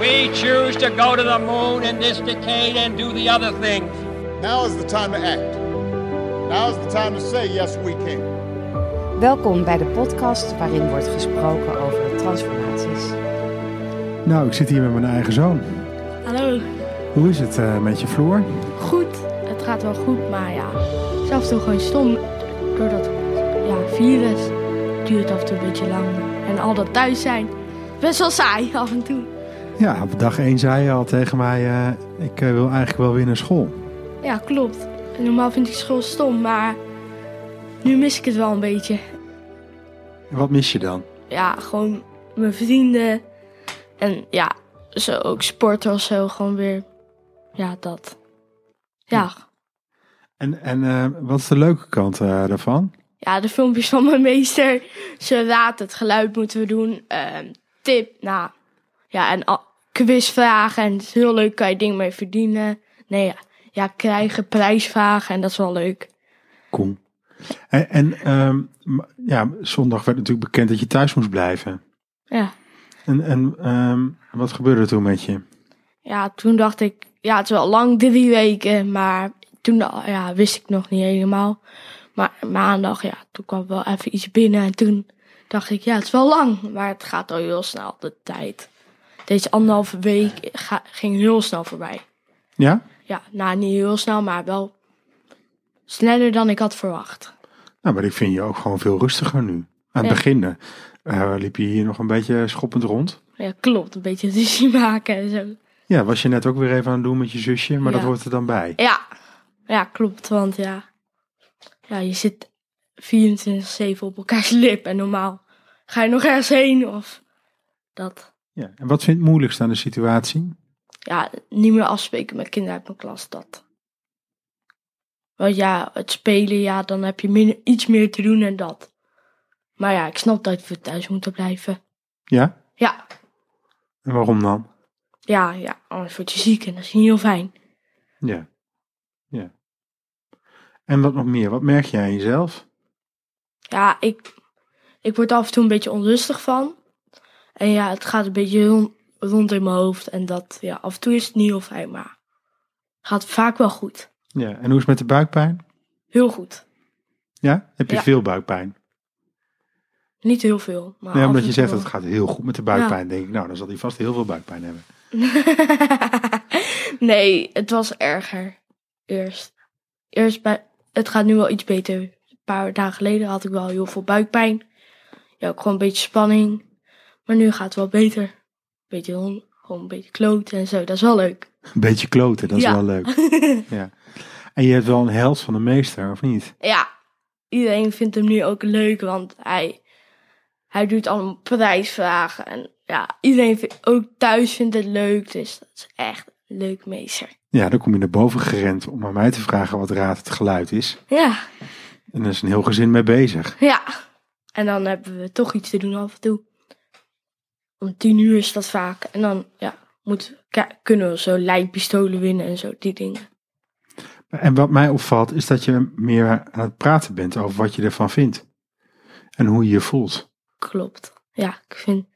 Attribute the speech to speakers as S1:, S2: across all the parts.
S1: We choose to go to the moon in this decade and do the other things.
S2: Now is the time to act. Now is the time to say yes we can.
S3: Welkom bij de podcast waarin wordt gesproken over transformaties.
S4: Nou, ik zit hier met mijn eigen zoon.
S5: Hallo.
S4: Hoe is het eh, met je vloer?
S5: Goed. Het gaat wel goed, maar ja, het is af en toe gewoon stom. Door dat ja, virus duurt het af en toe een beetje lang. En al dat thuis zijn, best wel saai af en toe.
S4: Ja, op dag 1 zei je al tegen mij, eh, ik eh, wil eigenlijk wel weer naar school.
S5: Ja, klopt. Normaal vind ik school stom, maar nu mis ik het wel een beetje.
S4: En wat mis je dan?
S5: Ja, gewoon mijn vrienden. En ja, zo ook sporten of zo, gewoon weer. Ja, dat. Ja.
S4: En, en eh, wat is de leuke kant eh, daarvan?
S5: Ja, de filmpjes van mijn meester. Ze raadt het geluid moeten we doen. ehm, tip, nou. Ja, en al- quizvragen. En het is heel leuk, kan je dingen mee verdienen. Nee, ja, ja krijgen prijsvragen. En dat is wel leuk.
S4: Kom. En, en ehm, m- ja, zondag werd natuurlijk bekend dat je thuis moest blijven.
S5: Ja.
S4: En, en ehm, wat gebeurde er toen met je?
S5: ja, toen dacht ik, ja, het is wel lang, drie weken. Maar toen da- ja, wist ik nog niet helemaal. Maar maandag, ja, toen kwam wel even iets binnen. En toen dacht ik, ja, het is wel lang. Maar het gaat al heel snel, de tijd. Deze anderhalve week eh, ga- ging heel snel voorbij.
S4: Ja?
S5: Ja, nou niet heel snel, maar wel sneller dan ik had verwacht.
S4: Nou, maar ik vind je ook gewoon veel rustiger nu. Aan het
S5: Ja.
S4: begin eh, eh, liep je hier nog een beetje schoppend rond.
S5: Ja, klopt. Een beetje ruzie maken en zo.
S4: Ja, was je net ook weer even aan het doen met je zusje, maar dat
S5: Ja.
S4: hoort er dan bij.
S5: Ja, ja klopt. Want ja, ja je zit 24-7 op elkaars lip. En normaal ga je nog ergens heen of dat.
S4: Ja. En wat vindt het moeilijkst aan de situatie?
S5: Ja, niet meer afspreken met kinderen uit mijn klas, dat. Want ja, het spelen, ja, dan heb je minder, iets meer te doen en dat. Maar ja, ik snap dat we thuis moeten blijven.
S4: Ja?
S5: Ja,
S4: En waarom dan?
S5: Ja, ja, anders word je ziek en dat is niet heel fijn.
S4: Ja. Ja. En wat nog meer? Wat merk jij aan jezelf?
S5: Ja, ik, ik word af en toe een beetje onrustig van. En ja, het gaat een beetje rond, rond in mijn hoofd. En dat, ja, af en toe is het niet heel fijn, maar gaat vaak wel goed.
S4: Ja. En hoe is het met de buikpijn?
S5: Heel goed.
S4: Ja? Heb je
S5: Ja.
S4: veel buikpijn?
S5: Niet heel veel. Maar
S4: Nee,
S5: af
S4: omdat
S5: en
S4: je
S5: toe
S4: zegt dat het
S5: wel.
S4: gaat heel goed met de buikpijn. Denk ik, nou, dan zal hij vast heel veel buikpijn hebben.
S5: nee, het was erger. Eerst. Eerst bij, het gaat nu wel iets beter. Een paar dagen geleden had ik wel heel veel buikpijn. Ja, ook gewoon een beetje spanning. Maar nu gaat het wel beter. Beetje hon- gewoon een beetje kloot en zo. Dat is wel leuk.
S4: Een beetje kloten, dat is
S5: Ja.
S4: wel leuk. Ja. En je hebt wel een held van de meester, of niet?
S5: Ja, iedereen vindt hem nu ook leuk, want hij, hij doet allemaal prijsvragen. En ja, iedereen vindt- ook thuis vindt het leuk. Dus dat is echt een leuk meester.
S4: Ja, dan kom je naar boven gerend om aan mij te vragen wat raad het geluid is.
S5: Ja.
S4: En daar is een heel gezin mee bezig.
S5: Ja. En dan hebben we toch iets te doen af en toe. Om tien uur is dat vaak. En dan ja, moet, k- kunnen we zo lijnpistolen winnen en zo, die dingen.
S4: En wat mij opvalt is dat je meer aan het praten bent over wat je ervan vindt. En hoe je je voelt.
S5: Klopt. Ja, ik vind...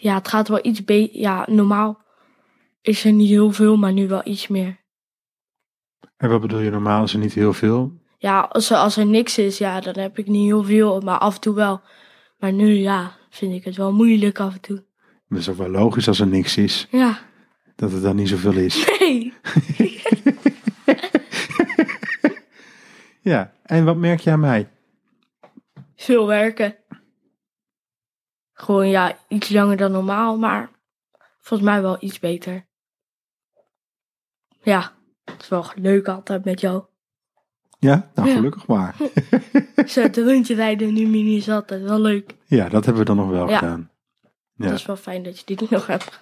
S5: Ja, het gaat wel iets beter. Ja, normaal is er niet heel veel, maar nu wel iets meer.
S4: En wat bedoel je normaal is er niet heel veel.
S5: Ja, als er, als er niks is, ja, dan heb ik niet heel veel. Maar af en toe wel. Maar nu, ja, vind ik het wel moeilijk af en toe.
S4: Dat is ook wel logisch als er niks is,
S5: Ja.
S4: dat het dan niet zoveel is.
S5: Hey.
S4: Ja, en wat merk je aan mij?
S5: veel werken. Gewoon ja, iets langer dan normaal, maar volgens mij wel iets beter. Ja, het is wel leuk altijd met jou.
S4: Ja, nou
S5: Ja. Hm.
S4: gelukkig maar.
S5: Zo het rondje rijden nu mini is altijd wel leuk.
S4: Ja, dat hebben we dan nog wel
S5: Ja.
S4: gedaan. Ja.
S5: Het is wel fijn dat je dit nog hebt.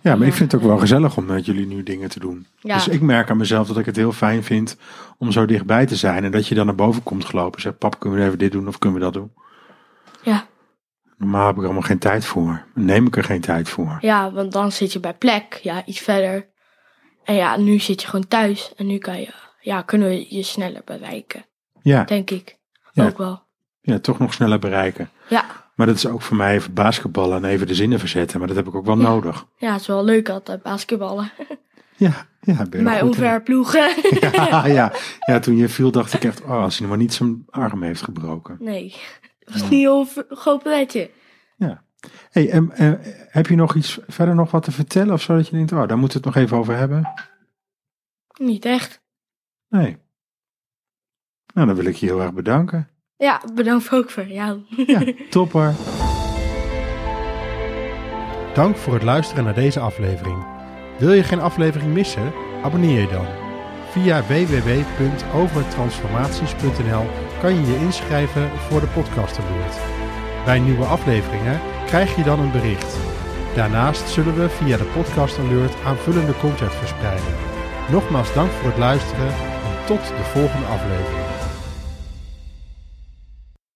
S4: Ja, maar ik vind het ook wel gezellig om met jullie nu dingen te doen.
S5: Ja.
S4: Dus ik merk aan mezelf dat ik het heel fijn vind om zo dichtbij te zijn. En dat je dan naar boven komt gelopen en zegt, pap, kunnen we even dit doen of kunnen we dat doen?
S5: Ja.
S4: Normaal heb ik er allemaal geen tijd voor. Neem ik er geen tijd voor.
S5: ja, want dan zit je bij plek, ja, iets verder. En ja, nu zit je gewoon thuis en nu kan je, ja, kunnen we je sneller bereiken,
S4: Ja,
S5: denk ik.
S4: Ja.
S5: Ook wel.
S4: ja toch nog sneller bereiken.
S5: Ja,
S4: Maar dat is ook voor mij even basketballen en even de zinnen verzetten. Maar dat heb ik ook wel nodig.
S5: Ja, het is wel leuk altijd, basketballen.
S4: Ja, ja, ben je er
S5: Bij
S4: goed eh, in.
S5: omverploegen.
S4: Ja, ja. ja, toen je viel dacht ik echt, oh, als hij nog maar niet zijn arm heeft gebroken.
S5: Nee, het was niet een heel groot bedje.
S4: Ja. Hey, en, en, heb je nog iets verder nog wat te vertellen of zo dat je denkt, oh, daar moeten we het nog even over hebben?
S5: Niet echt.
S4: Nee. Nou, dan wil ik je heel erg bedanken.
S5: Ja, bedankt ook voor jou.
S4: Ja, topper.
S6: Dank voor het luisteren naar deze aflevering. Wil je geen aflevering missen? Abonneer je dan. Via www.overtransformaties.nl kan je je inschrijven voor de Podcast Award. Bij nieuwe afleveringen krijg je dan een bericht. Daarnaast zullen we via de Podcast Alert aanvullende content verspreiden. Nogmaals dank voor het luisteren en tot de volgende aflevering.